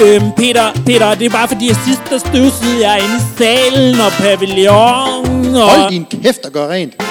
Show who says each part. Speaker 1: Øhm, Peter, Peter, det er bare fordi, at sidst der støvsede jeg inde i salen og pavillonen. Og...
Speaker 2: Hold din kæft og gør rent.